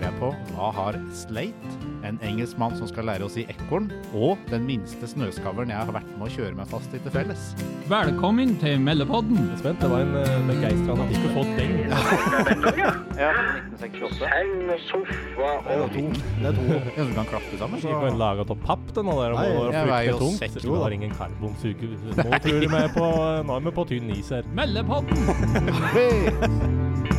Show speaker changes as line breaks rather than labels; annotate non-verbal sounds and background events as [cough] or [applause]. Da har Slate, en engelskmann som skal lære å si ekorn, og den minste snøskavlen jeg har vært med å kjøre meg fast i til felles.
Velkommen til Meldepodden.
Spent, det var en eh, begeistret han ikke fått den.
Seng, sofa og
Jeg tror du kan klappe sammen.
Ikke bare laget av papp, den der.
Nei, jeg veier jo sekk,
Så
jo
vi
da.
har ingen [laughs] karbonsuger. eh, Nå tror du vi er på, nå er vi på tynn is her.
Meldepodden!
Hey!